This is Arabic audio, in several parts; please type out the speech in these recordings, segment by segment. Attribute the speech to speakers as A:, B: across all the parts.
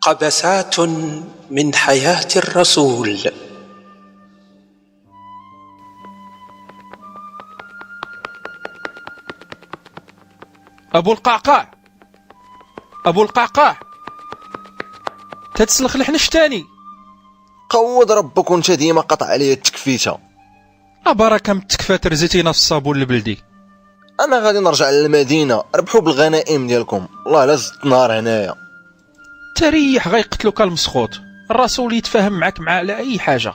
A: قبسات من حياه الرسول
B: ابو القعقاع ابو القعقاع تتسلخ الحنش تاني
C: قود ربك وانت ديما قطع عليا التكفيته
B: أباركة متكفى ترزيتينا في الصابون البلدي
C: انا غادي نرجع للمدينه ربحوا بالغنائم ديالكم والله لا زدت نار هنايا
B: تريح غيقتلوك المسخوط الرسول يتفاهم معك مع على اي حاجه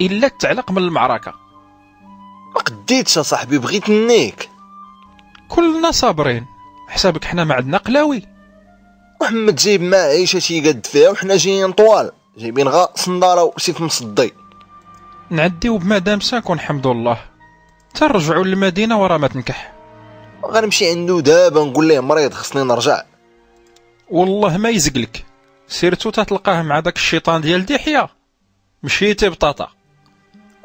B: الا تعلق من المعركه
C: ما قديتش اصاحبي بغيت نيك
B: كلنا صابرين حسابك حنا ما عندنا قلاوي
C: محمد جايب معاه عيشه شي قد فيها وحنا جايين طوال جايبين غا صنداره وسيف مصدي
B: نعديو بمدام سانك ونحمد الله تنرجعوا للمدينه ورا ما تنكح
C: غنمشي عنده دابا نقول ليه مريض خصني نرجع
B: والله ما يزقلك سيرتو تتلقاه مع داك الشيطان ديال دحية مشيتي بطاطا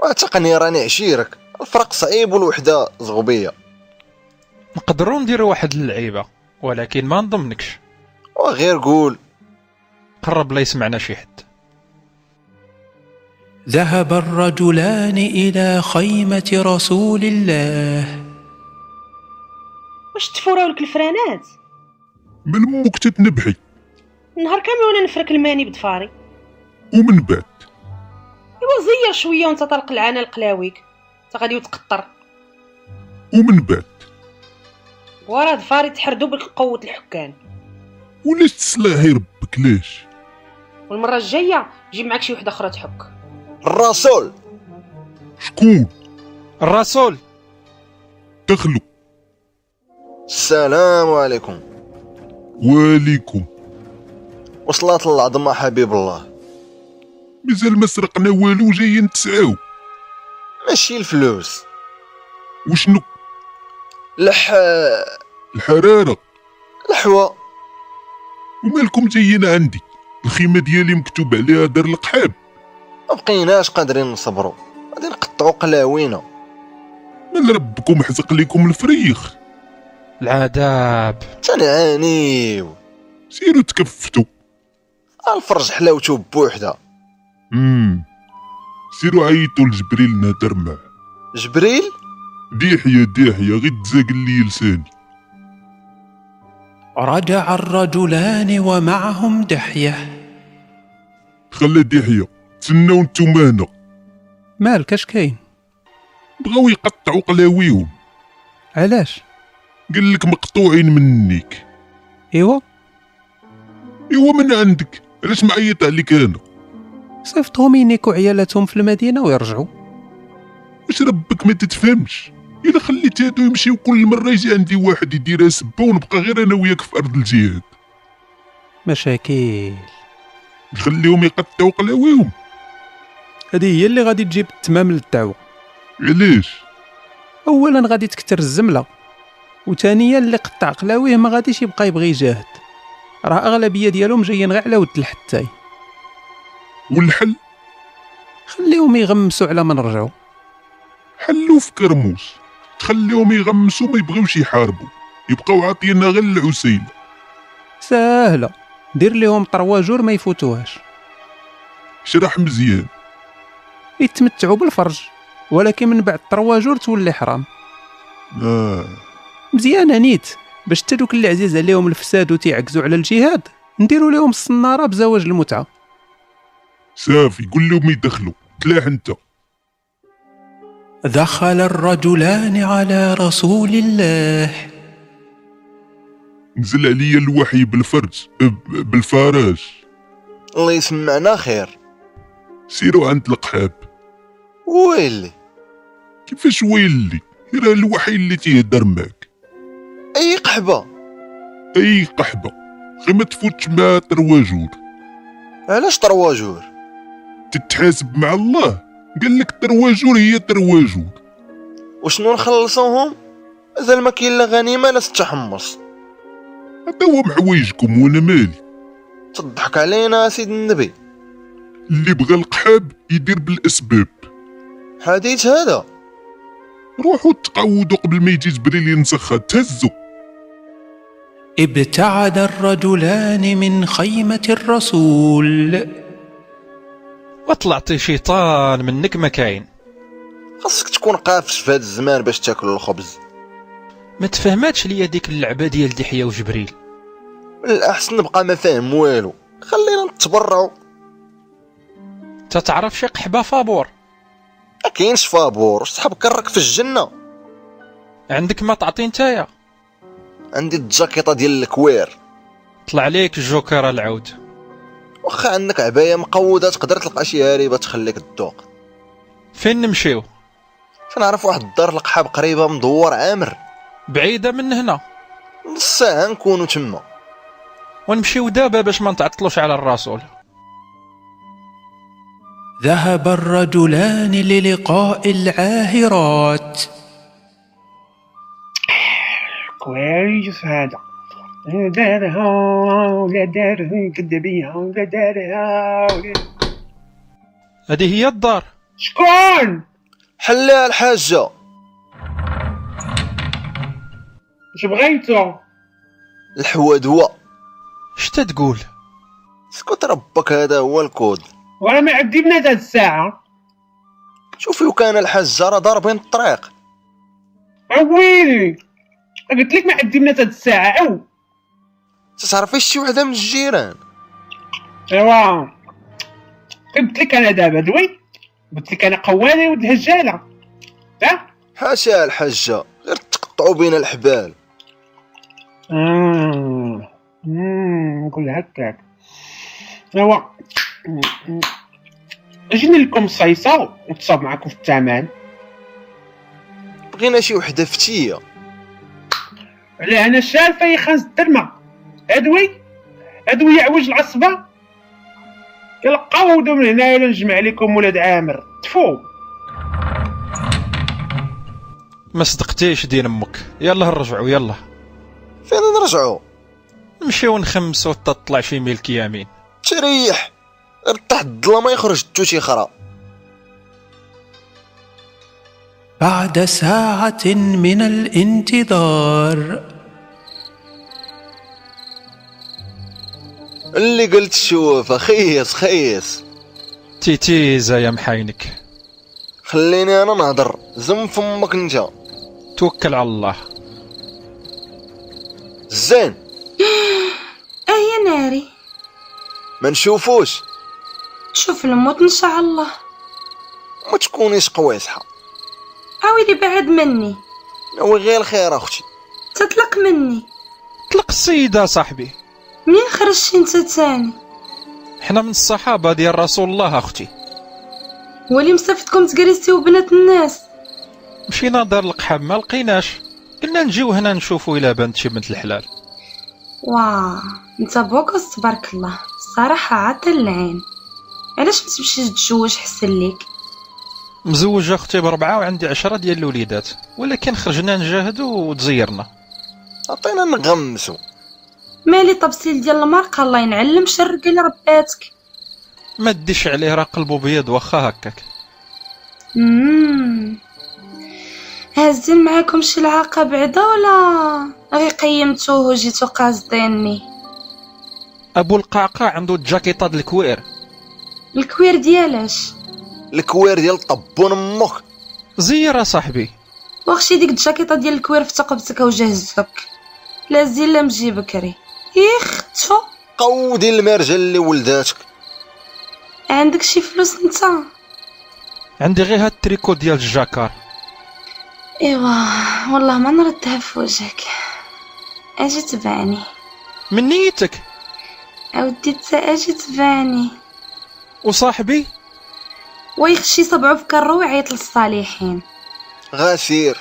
C: وتقني راني عشيرك الفرق صعيب والوحده زغبيه
B: نقدروا نديروا واحد اللعيبه ولكن ما نضمنكش
C: وغير قول
B: قرب لا يسمعنا شي حد
D: ذهب الرجلان إلى خيمة رسول الله
E: واش تفوراولك الفرانات
F: من امك تتنبحي
E: نهار كامل وانا نفرك الماني بدفاري
F: ومن بعد
E: ايوا زير شويه وانت طلق العانه لقلاويك انت غادي وتقطر
F: ومن بعد
E: ورا دفاري تحردو بالقوة الحكان
F: ولاش تسلاهي ربك ليش
E: والمره الجايه جيب معاك شي وحده اخرى تحك
C: الرسول
F: شكون
B: الرسول
F: دخلوا
C: السلام عليكم
F: واليكم
C: وصلات العظمه حبيب الله
F: مازال ما سرقنا والو جايين نتسعاو
C: ماشي الفلوس
F: وشنو
C: لح
F: الحراره
C: لحوه
F: ومالكم جايين عندي الخيمه ديالي مكتوب عليها دار القحاب
C: ما بقيناش قادرين نصبروا غادي نقطعوا قلاوينا
F: مال ربكم حزق ليكم الفريخ
B: العذاب
C: تنعانيو
F: سيروا تكفتوا
C: الفرج حلاوته بوحده
F: امم سيروا عيطوا لجبريل نهدر معاه
C: جبريل
F: ديحيا ديحيا غير تزاقل لي لساني
D: رجع الرجلان ومعهم دحية
F: خلى ديحيا تسناو نتوما هنا
D: مالك اش كاين
F: بغاو يقطعوا قلاويهم
D: علاش
F: قال لك مقطوعين منك
D: ايوا
F: ايوا إيه من عندك علاش معيط عليك انا
D: صيفطهم ينيكو عيالاتهم في المدينة ويرجعوا
F: واش ربك ما تتفهمش الا خليت هادو يمشيو كل مره يجي عندي واحد يديرها سبه ونبقى غير انا وياك في ارض الجهاد
D: مشاكل
F: نخليهم يقطعوا قلاويهم
D: هذه هي اللي غادي تجيب التمام للدعوة
F: علاش
D: اولا غادي تكتر الزملة وثانيا اللي قطع قلاويه ما غاديش يبقى يبغي يجاهد راه اغلبيه ديالهم جايين غير على ود الحتاي
F: والحل
D: خليهم يغمسوا على ما نرجعوا
F: حلو في كرموس تخليهم يغمسوا ما يبغيوش يحاربوا يبقاو عاطينا غير العسيل
D: ساهله دير لهم طرواجور ما يفوتوهاش
F: شرح مزيان
D: يتمتعوا بالفرج ولكن من بعد طرواجور تولي حرام
F: آه.
D: مزيانه نيت باش حتى دوك اللي عزيز عليهم الفساد وتيعكزوا على الجهاد نديروا لهم الصناره بزواج المتعه
F: صافي قول لهم يدخلوا تلاح انت
D: دخل الرجلان على رسول الله
F: نزل عليا الوحي بالفرج ب- بالفراج
C: الله يسمعنا خير
F: سيروا عند القحاب
C: ويلي
F: كيفاش ويلي راه الوحي اللي تيهدر معك
C: اي قحبه
F: اي قحبه غير ما تفوتش مع ترواجور
C: علاش طرواجور
F: تتحاسب مع الله قال لك ترواجور هي ترواجور
C: وشنو نخلصوهم مازال ما كاين لا غنيمه لا تتحمص
F: هذا هو محوايجكم وانا مالي
C: تضحك علينا سيد النبي
F: اللي بغى القحاب يدير بالاسباب
C: حديث هذا
F: روحوا تقعودوا قبل ما يجي جبريل ينسخها تهزوا
D: ابتعد الرجلان من خيمة الرسول
B: وطلعتي شيطان منك ما كاين
C: خاصك تكون قافش في هذا الزمان باش تاكل الخبز
B: ما تفهماتش ليا ديك اللعبه ديال دحيه وجبريل
C: من الاحسن نبقى ما فاهم والو خلينا نتبرعوا
B: تتعرف شي قحبه فابور
C: ما كاينش فابور سحب كرك في الجنه
B: عندك ما تعطي نتايا
C: عندي الجاكيطه ديال الكوير
B: طلع ليك الجوكر العود
C: واخا عندك عبايه مقوده تقدر تلقى شي هريبه تخليك تدوق
B: فين نمشيو
C: تنعرف واحد الدار القحاب قريبه من دوار عامر
B: بعيده من هنا
C: نص ساعه نكونوا تما
B: ونمشيو دابا باش ما نتعطلوش على الرسول
D: ذهب الرجلان للقاء العاهرات
G: كويس هذا دارها ولا دارها يكذب بيها ولا دارها ولا-
B: هذه هي الدار
G: شكون
C: حلها الحاجه
G: اش بغيتو
C: الحوادوه
B: شتا تقول
C: سكت ربك هذا هو الكود
G: وانا ما عذبنا هاد الساعه
C: شوفي وكان الحاجه راه ضاربين الطريق
G: عويلي قلت لك ما عذبنا هاد الساعه عو
C: تتعرفي شي وحده من الجيران
G: ايوا قلت لك انا دابا دوي قلت لك انا قواني ولد الهجاله ها
C: حاشا الحاجه غير تقطعوا بين الحبال
G: آه. مم، نقول هكاك ايوا اجيني لكم صيصه وتصاب معكم في الثمن
C: بغينا شي وحده فتيه
G: على انا شالفه يا خاص الدرمه ادوي ادوي يعوج العصبه يلقاو ودو من هنا ولا نجمع لكم ولاد عامر تفو
B: ما صدقتيش دين امك يلا نرجعوا يلا
C: فين نرجعوا
B: نمشيو نخمسو حتى تطلع شي ملك يمين
C: تريح غير تحت الظلمه يخرج التوت يخرى
D: بعد ساعة من الانتظار
C: اللي قلت شوف خيس خيس
B: تيتيزا يا محاينك
C: خليني انا نهضر زم فمك انت
B: توكل على الله
C: زين
H: اه يا ناري
C: ما نشوفوش
H: شوف الموت ان شاء الله
C: ما تكونيش قويصحه
H: عاودي بعد مني
C: ناوي غير الخير اختي
H: تطلق مني
B: طلق السيده صاحبي
H: منين خرجتي انت تاني
B: حنا من الصحابه ديال رسول الله اختي
H: ولي مسافتكم تجلستي وبنات الناس
B: مشينا دار القحاب ما لقيناش قلنا نجيو هنا نشوفو الا بانت شي بنت الحلال
H: واه انت بوكس تبارك الله الصراحه عطل العين علاش ما تمشيش تتزوج حسن ليك
B: مزوج اختي بربعه وعندي عشرة ديال الوليدات ولكن خرجنا نجاهد وتزيرنا
C: عطينا نغمسو
H: مالي طبسيل ديال المرقه الله ينعلم شرقي لرباتك
B: ما ديش عليه راه قلبو بيض واخا هكاك
H: مم. هازين معاكم شي العاقه بعدا ولا غي قيمتوه وجيتو قاصديني
B: ابو القعقاع عنده الجاكيطه د الكوير
H: الكوير ديالاش
C: الكوير ديال طبون امك
B: زير صاحبي
H: واخشي ديك الجاكيطه ديال الكوير في ثقبتك وجهزتك لا زين لا مجي بكري يخ تفو
C: قودي المرجل اللي ولداتك
H: عندك شي فلوس انت
B: عندي غير هاد التريكو ديال الجاكار
H: ايوا والله ما نردها في وجهك اجي تبعني
B: من نيتك
H: اودي تا اجي تبعني
B: وصاحبي
H: ويخشي صبعو في كرو ويعيط للصالحين
C: غسير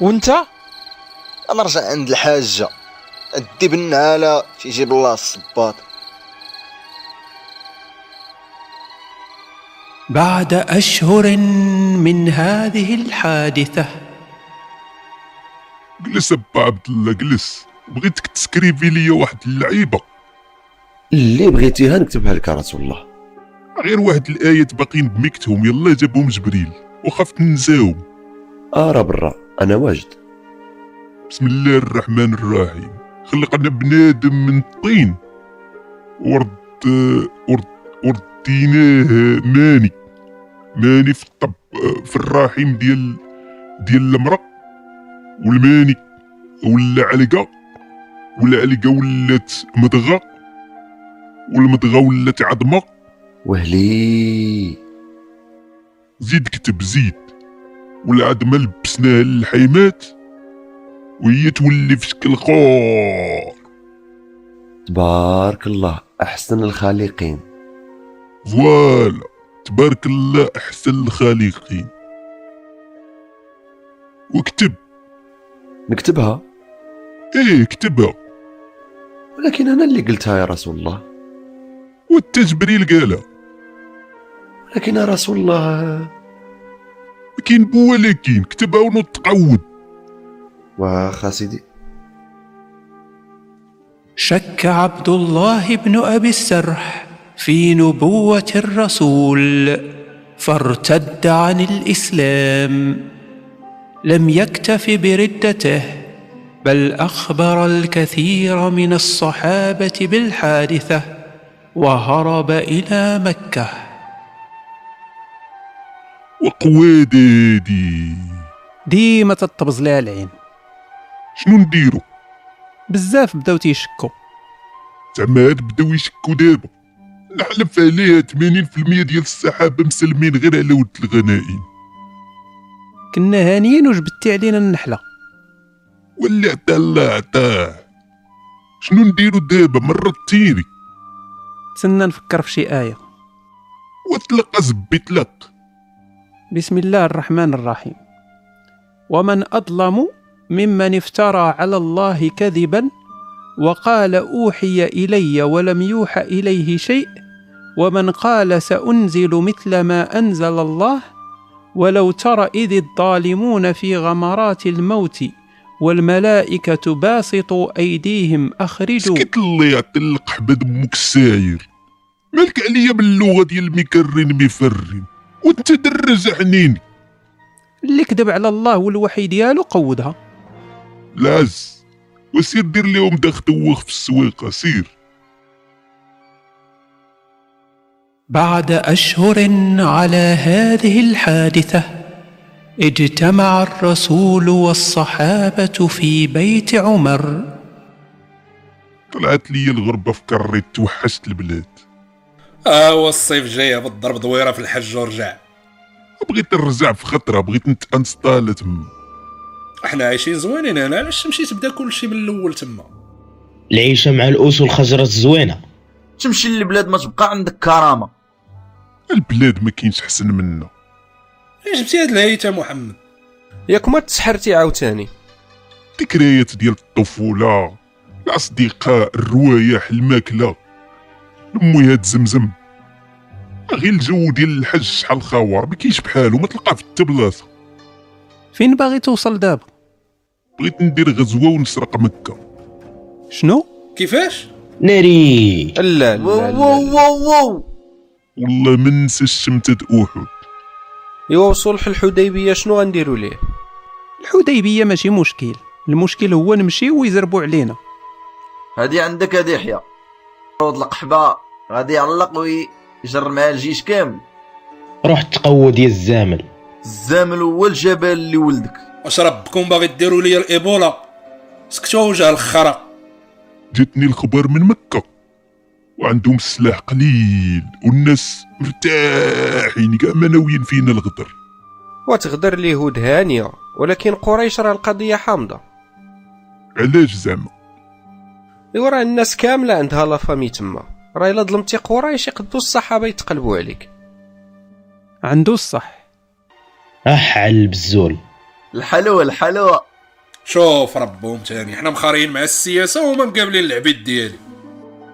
B: وانت
C: انا رجع عند الحاجه ادي بالنعاله تيجيب الله الصباط
D: بعد أشهر من هذه الحادثة
F: جلس با عبد الله جلس بغيتك تسكريبي ليا واحد اللعيبه
I: اللي بغيتيها نكتبها لك يا رسول الله
F: غير واحد الايات باقيين بميكتهم يلا جابهم جبريل وخفت ننساهم
I: ارى برا انا واجد
F: بسم الله الرحمن الرحيم خلقنا بنادم من الطين ورد ورد ورديناه ماني ماني في الطب في الرحم ديال ديال المرأة والماني ولا علقة والعلقة ولات مضغة والمضغة ولات عظمة
I: وهلي
F: زيد كتب زيد والعظمة لبسناها للحيمات وهي تولي في شكل خور
I: تبارك الله احسن الخالقين
F: فوالا تبارك الله احسن الخالقين وكتب
I: نكتبها
F: ايه كتبها
I: ولكن انا اللي قلتها يا رسول الله
F: والتجبريل قالها
I: ولكن يا رسول الله
F: لكن بولكين كتبها ونط تعود
I: واخا سيدي
D: شك عبد الله بن ابي السرح في نبوه الرسول فارتد عن الاسلام لم يكتف بردته بل اخبر الكثير من الصحابه بالحادثه وهرب الى مكه
F: وقوادادي
J: ديما تطبز لها العين
F: شنو نديرو
J: بزاف بداو تيشكوا
F: زعما هاد بداو يشكو دابا نحلف عليها 80% ديال السحابه مسلمين غير على ود الغنائم
J: كنا هانيين وجبتي علينا النحله
F: ولا عطا الله عطاه شنو نديرو دابا مرة تيري
J: تسنى نفكر في شي ايه
F: وطلق زبي طلق
J: بسم الله الرحمن الرحيم ومن اظلم ممن افترى على الله كذبا وقال اوحي الي ولم يوحى اليه شيء ومن قال سانزل مثل ما انزل الله ولو ترى اذ الظالمون في غمرات الموت والملائكه باسطوا ايديهم اخرجوا
F: سكت الله يعطي القحبة دمك الساير مالك عليا باللغة ديال مكرن مفرن وانت درز حنيني
J: اللي كذب على الله والوحي ديالو قودها
F: لاز وسير دير لهم داخ توخ في السويقة سير
D: بعد اشهر على هذه الحادثه اجتمع الرسول والصحابه في بيت عمر
F: طلعت لي الغربة في كريت توحشت البلاد
K: آه الصيف جاية بالضرب دويرة في الحج ورجع
F: بغيت نرجع في خطرة بغيت نتانستال تما
K: احنا عايشين زوينين هنا علاش مشيت بدا كلشي من الاول تما
L: العيشة مع الأس والخزرة زوينة
M: تمشي للبلاد ما تبقى عندك كرامه
F: البلاد ما كاينش حسن منا
K: علاش جبتي هاد الهيتة محمد
B: ياك ما تسحرتي عاوتاني
F: ذكريات ديال الطفولة الأصدقاء الروايح الماكلة المي هاد زمزم غير الجو ديال الحج شحال خاور ما كاينش بحالو ما تلقاه في حتى بلاصة
J: فين باغي توصل دابا
F: بغيت ندير غزوة ونسرق مكة
J: شنو
K: كيفاش
L: ناري
B: لا
M: واو واو واو واو
F: والله ما ننسى الشمتة أحد
B: ايوا وصلح الحديبية شنو غنديرو ليه
J: الحديبيه ماشي مشكل المشكل هو نمشي ويزربوا علينا
M: هادي عندك هادي يحيى روض القحبه غادي يعلق ويجر معاه الجيش كامل
L: روح تقود يا الزامل
M: الزامل هو الجبل اللي ولدك
K: واش ربكم باغي ديروا لي الايبولا سكتوا وجه الخرا
F: جاتني الخبر من مكة وعندهم السلاح قليل والناس مرتاحين كاع ما ناويين فينا الغدر
B: وتغدر اليهود هانية ولكن قريش راه القضية حامضة
F: علاش زعما
B: ايوا راه الناس كاملة عندها لا فامي تما راه الا ظلمتي قريش يقدو الصحابة يتقلبوا عليك
J: عنده الصح
L: أح على البزول
M: الحلوه الحلوه
K: شوف ربهم تاني حنا مخارين مع السياسة وهما مقابلين العبيد ديالي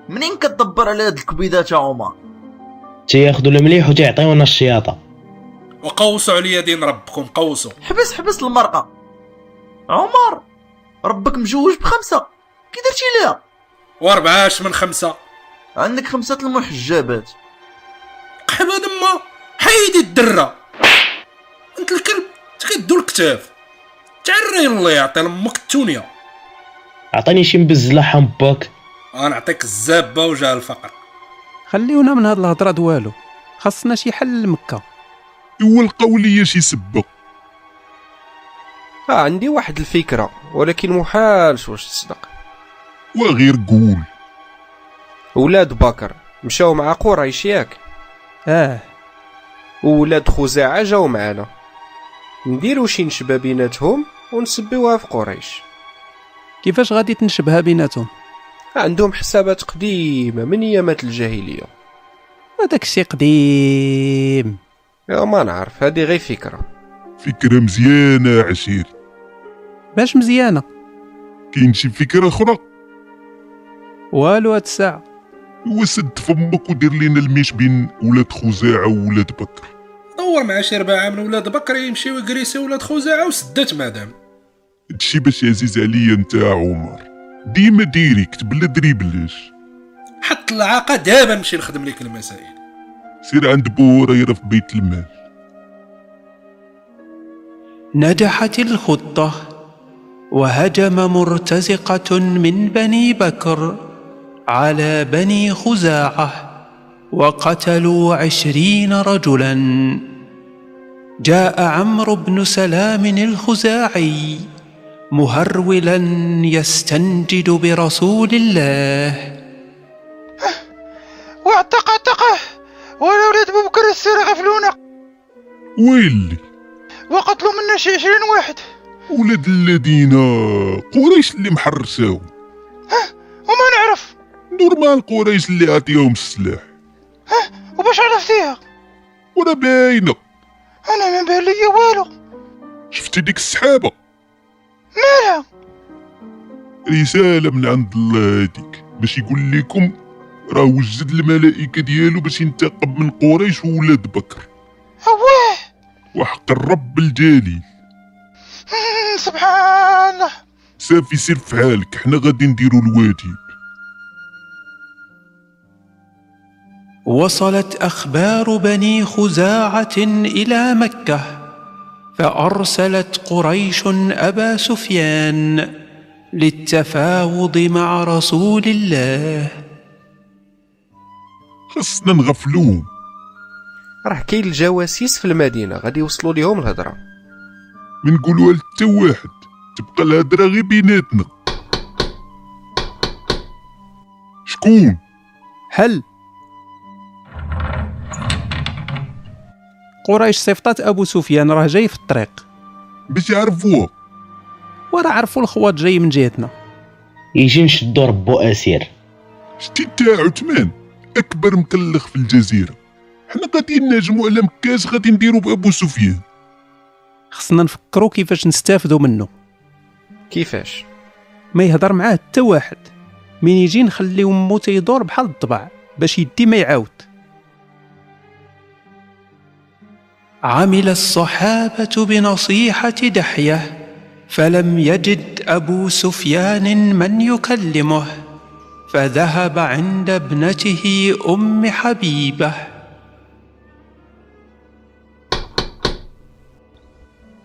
M: منين كتدبر على هاد الكبيدات يا عمر
L: تياخدو المليح وتيعطيونا الشياطة
K: وقوسوا عليا دين ربكم قوسوا
M: حبس حبس المرأة عمر ربك مجوج بخمسة كي درتي ليها
K: واربعة اش من خمسة
M: عندك خمسة المحجبات
K: قحبة دما حيدي الدرة انت الكلب تكدو الكتاف تعري الله يعطي لامك التونية
L: عطيني شي مبزله حمباك
K: غنعطيك الزابه وجه الفقر
J: خليونا من هاد الهضره دوالو خاصنا شي حل لمكه
F: هو القولية شي سبة
B: آه عندي واحد الفكرة ولكن محال واش تصدق
F: وغير قول
B: ولاد بكر مشاو مع قريش ياك
J: اه
B: وولاد خزاعة جاو معانا نديرو شي نشبة بيناتهم ونسبيوها في قريش
J: كيفاش غادي تنشبها بيناتهم
B: عندهم حسابات قديمة من ايامات الجاهلية
J: هذاك الشي قديم
B: يا ما نعرف هذه غير فكرة
F: فكرة مزيانة عشير
J: باش مزيانه
F: كاين شي فكرة أخرى
J: والو هاد الساعه
F: وسد فمك ودير لينا الميش بين ولاد خزاعة وولاد بكر
K: دور مع شي رباعه من ولاد بكر يمشيو يكريسيو ولاد خزاعه وسدات مادام
F: هادشي باش عزيز عليا انت يا عمر ديما ديريكت بلا دريبلاش
K: حط العاقه دابا نمشي نخدم ليك المسائل
F: سير عند بو هريرة في بيت المال
D: نجحت الخطة وهجم مرتزقة من بني بكر على بني خزاعة وقتلوا عشرين رجلا جاء عمرو بن سلام الخزاعي مهرولا يستنجد برسول الله
N: واعتق اعتقه وانا ولاد ابو بكر السير غفلونا
F: ويلي
N: وقتلوا منا شي عشرين واحد
F: ولاد الذين قريش اللي محرساو
N: وما نعرف
F: نورمال قريش اللي عطيهم السلاح
N: وباش عرفتيها
F: ورا باينة
N: انا ما بان ليا والو
F: شفتي ديك السحابة
N: مالها
F: رسالة من عند الله هاديك باش يقول لكم راه وجد الملائكة ديالو باش ينتقم من قريش وولاد بكر
N: اواه
F: وحق الرب الجليل
N: مم، سبحان الله
F: صافي سير في حالك حنا غادي نديرو الواجب
D: وصلت اخبار بني خزاعه الى مكه فارسلت قريش ابا سفيان للتفاوض مع رسول الله
F: خصنا نغفلوهم
B: راه كاين الجواسيس في المدينة غادي يوصلوا ليهم الهضرة
F: ما نقولوها لتا واحد تبقى الهضرة غير بيناتنا شكون
J: حل قريش صيفطات ابو سفيان راه جاي في الطريق
F: باش يعرفوه
J: وراه عرفوا الخواط جاي من جهتنا
L: يجي نشدو ربو اسير
F: شتي تا عثمان اكبر مكلخ في الجزيرة حنا غادي نهاجمو على مكاش غادي نديرو بابو سفيان
J: خصنا نفكروا كيفاش نستافدوا منه
B: كيفاش
J: ما يهضر معاه حتى واحد من يجي نخليو مو تيدور بحال الضبع باش يدي ما يعاود
D: عمل الصحابه بنصيحه دحيه فلم يجد ابو سفيان من يكلمه فذهب عند ابنته ام حبيبه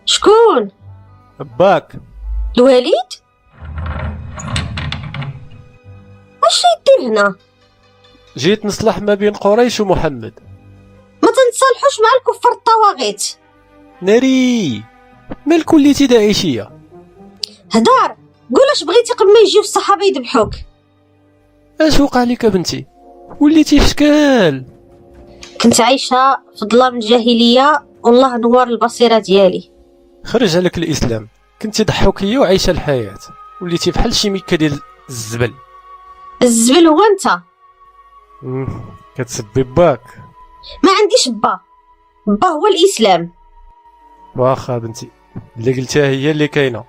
O: شكون
P: باك
O: الواليد اش يدير هنا
P: جيت نصلح ما بين قريش ومحمد
O: ما تنتصالحوش مع الكفار الطواغيت
P: ناري مال كليتي داعشية
O: هدار قول اش بغيتي قبل ما يجيو الصحابه يذبحوك
P: اش وقع لك بنتي وليتي في شكال
O: كنت عايشه في ظلام الجاهليه والله نوار البصيره ديالي
P: خرج عليك الاسلام كنتي ضحوكيه وعايشه الحياه وليتي بحال شي ميكه ديال الزبل
O: الزبل هو انت
P: مم، كتسبي باك
O: ما عنديش با با آه، هو الاسلام
P: واخا بنتي اللي قلتها هي اللي كاينه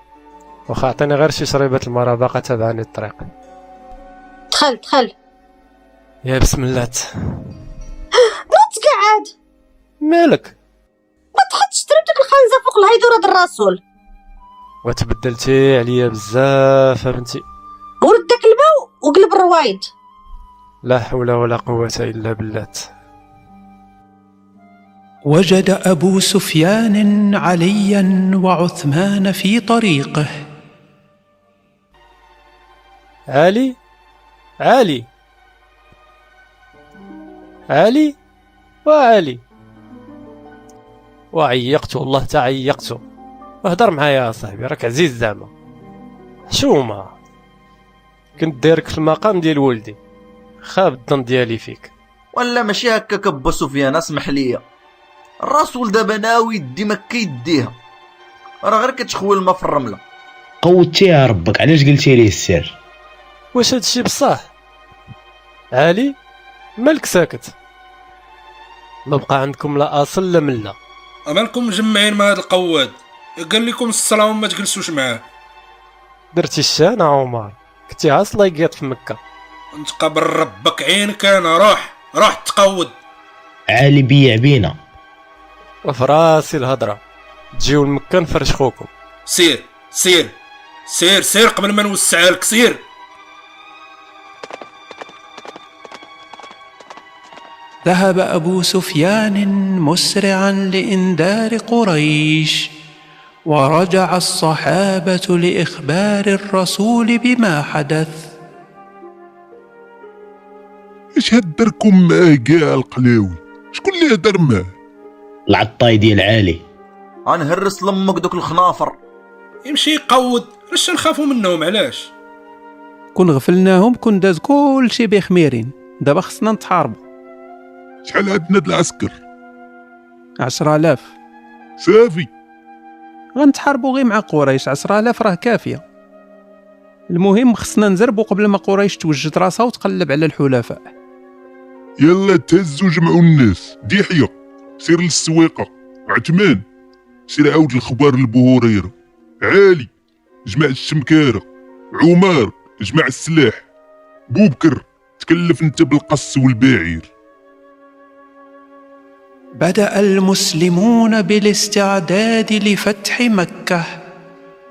P: واخا عطيني غير شي شريبه المرا باقا تابعاني الطريق
O: دخل دخل
P: يا بسم الله
O: ما تقعد
P: مالك
O: ما تحطش ترب ديك الخنزه فوق الهيدوره ديال الرسول
P: وتبدلتي عليا بزاف بنتي
O: ورد داك الماء وقلب الروايد
P: لا حول ولا قوه الا بالله
D: وجد ابو سفيان عليا وعثمان في طريقه
P: علي علي علي وعلي وعيقته والله تعيقته اهضر معايا يا صاحبي راك عزيز زعما شو ما كنت دايرك في المقام ديال ولدي خاب الظن ديالي فيك
M: ولا ماشي هكاك با سفيان اسمح ليا الرسول دابا ناوي يدي ما كيديها راه غير كتخوي الماء في الرمله
L: قوتيها ربك علاش قلتي ليه السر
P: واش هادشي بصح علي مالك ساكت ما بقى عندكم لا اصل لا مله
K: مالكم مجمعين مع هاد القواد قال لكم الصلاه وما تجلسوش معاه
P: درتي الشانة عمر كنتي عاص لايقيط في مكه
K: انت قبل ربك عينك انا روح روح تقود
L: عالي بيع بينا
P: وفي راسي الهضره تجيو لمكه نفرش خوكم
K: سير سير سير سير قبل ما نوسعها لك سير
D: ذهب ابو سفيان مسرعا لانذار قريش ورجع الصحابه لاخبار الرسول بما حدث
F: اش هدركم معاه كاع القلاوي شكون اللي هدر معاه
L: العطاي ديال عالي
M: غنهرس لامك دوك الخنافر
K: يمشي يقود علاش نخافوا منهم علاش
J: كون غفلناهم كون داز كلشي بخميرين دابا خصنا نتحاربوا
F: شحال عندنا د العسكر
J: عشرة آلاف
F: صافي
J: غنتحاربوا غير مع قريش عشرة آلاف راه كافية المهم خصنا نزربوا قبل ما قريش توجد راسها وتقلب على الحلفاء
F: يلا تهزوا جمعوا الناس ديحية سير للسويقة عثمان سير عاود الخبار لبو هريرة عالي جمع الشمكارة عمار جمع السلاح بوبكر تكلف انت بالقص والبعير
D: بدا المسلمون بالاستعداد لفتح مكه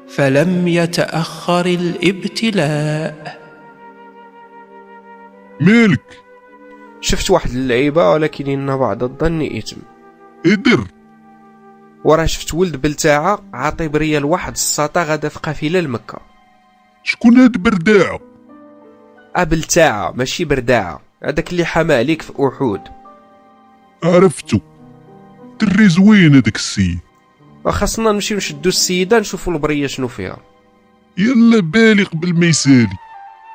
D: فلم يتاخر الابتلاء
F: مالك
Q: شفت واحد اللعيبة ولكن إن بعض الظن إثم
F: إدر
Q: وراه شفت ولد بلتاعة عاطي بريال واحد الساطا غدا في قافلة لمكة
F: شكون هاد برداعة
Q: أبلتاعة أه ماشي برداعة هذاك اللي حمى عليك في أحود
F: عرفتو دري زوين هذاك السيد
Q: وخاصنا نمشيو نشدو السيدة نشوفو البرية شنو فيها
F: يلا بالي قبل ما يسالي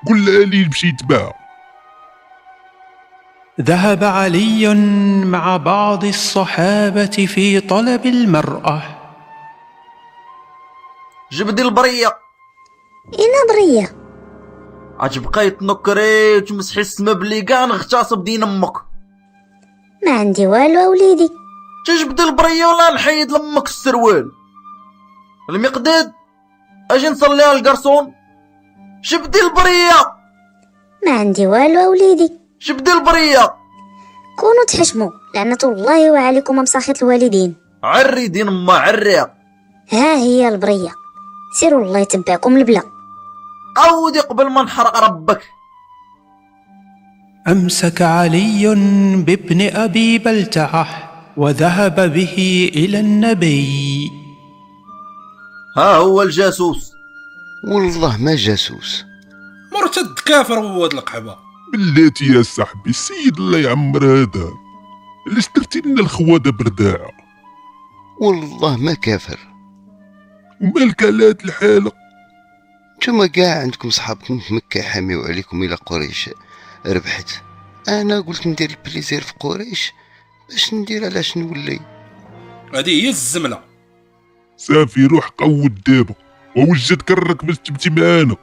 F: قول لعلي يمشي يتباع
D: ذهب علي مع بعض الصحابه في طلب المراه
M: جبدي البريه
R: انا بريه
M: غتبقى يتنكري وتمسحي السما بلي كاع نغتصب دين امك
R: ما عندي والو اوليدي
M: تجبد البريه ولا نحيد لامك السروال المقداد اجي نصليها القرصون جبدي البريه
R: ما عندي والو اوليدي
M: جبدي البريه
R: كونوا تحشموا لعنة الله وعليكم مساخط الوالدين
M: عري دين ما عري
R: ها هي البريه سيروا الله يتبعكم البلا
M: عودي قبل ما نحرق ربك
D: امسك علي بابن ابي بلتعه وذهب به الى النبي
M: ها هو الجاسوس
S: والله ما جاسوس
K: مرتد كافر هو هاد القحبه
F: بلاتي يا صاحبي السيد الله يعمر هذا علاش درتي لنا الخواده برداعة
S: والله ما كافر
F: ومالك على هاد الحالة
S: نتوما كاع عندكم صحابكم في مكة يحاميو عليكم إلى قريش ربحت أنا قلت ندير البليزير في قريش باش ندير علاش نولي
K: هادي هي الزمله
F: صافي روح قود دابا ووجد كرك باش تبتي معانا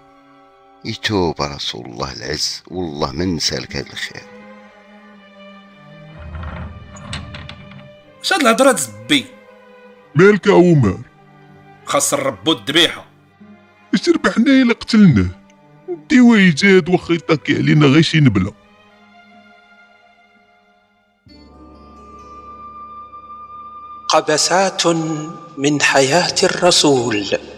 S: يتوب رسول الله العز والله ما نسالك هذا الخير
K: اش هاد الهضره تزبي
F: مالك يا عمر
K: خاص نربو الذبيحه
F: اش ربحنا إلا قتلناه نديوه يجاد واخا يطاكي علينا غير شي نبله
D: قبسات من حياه الرسول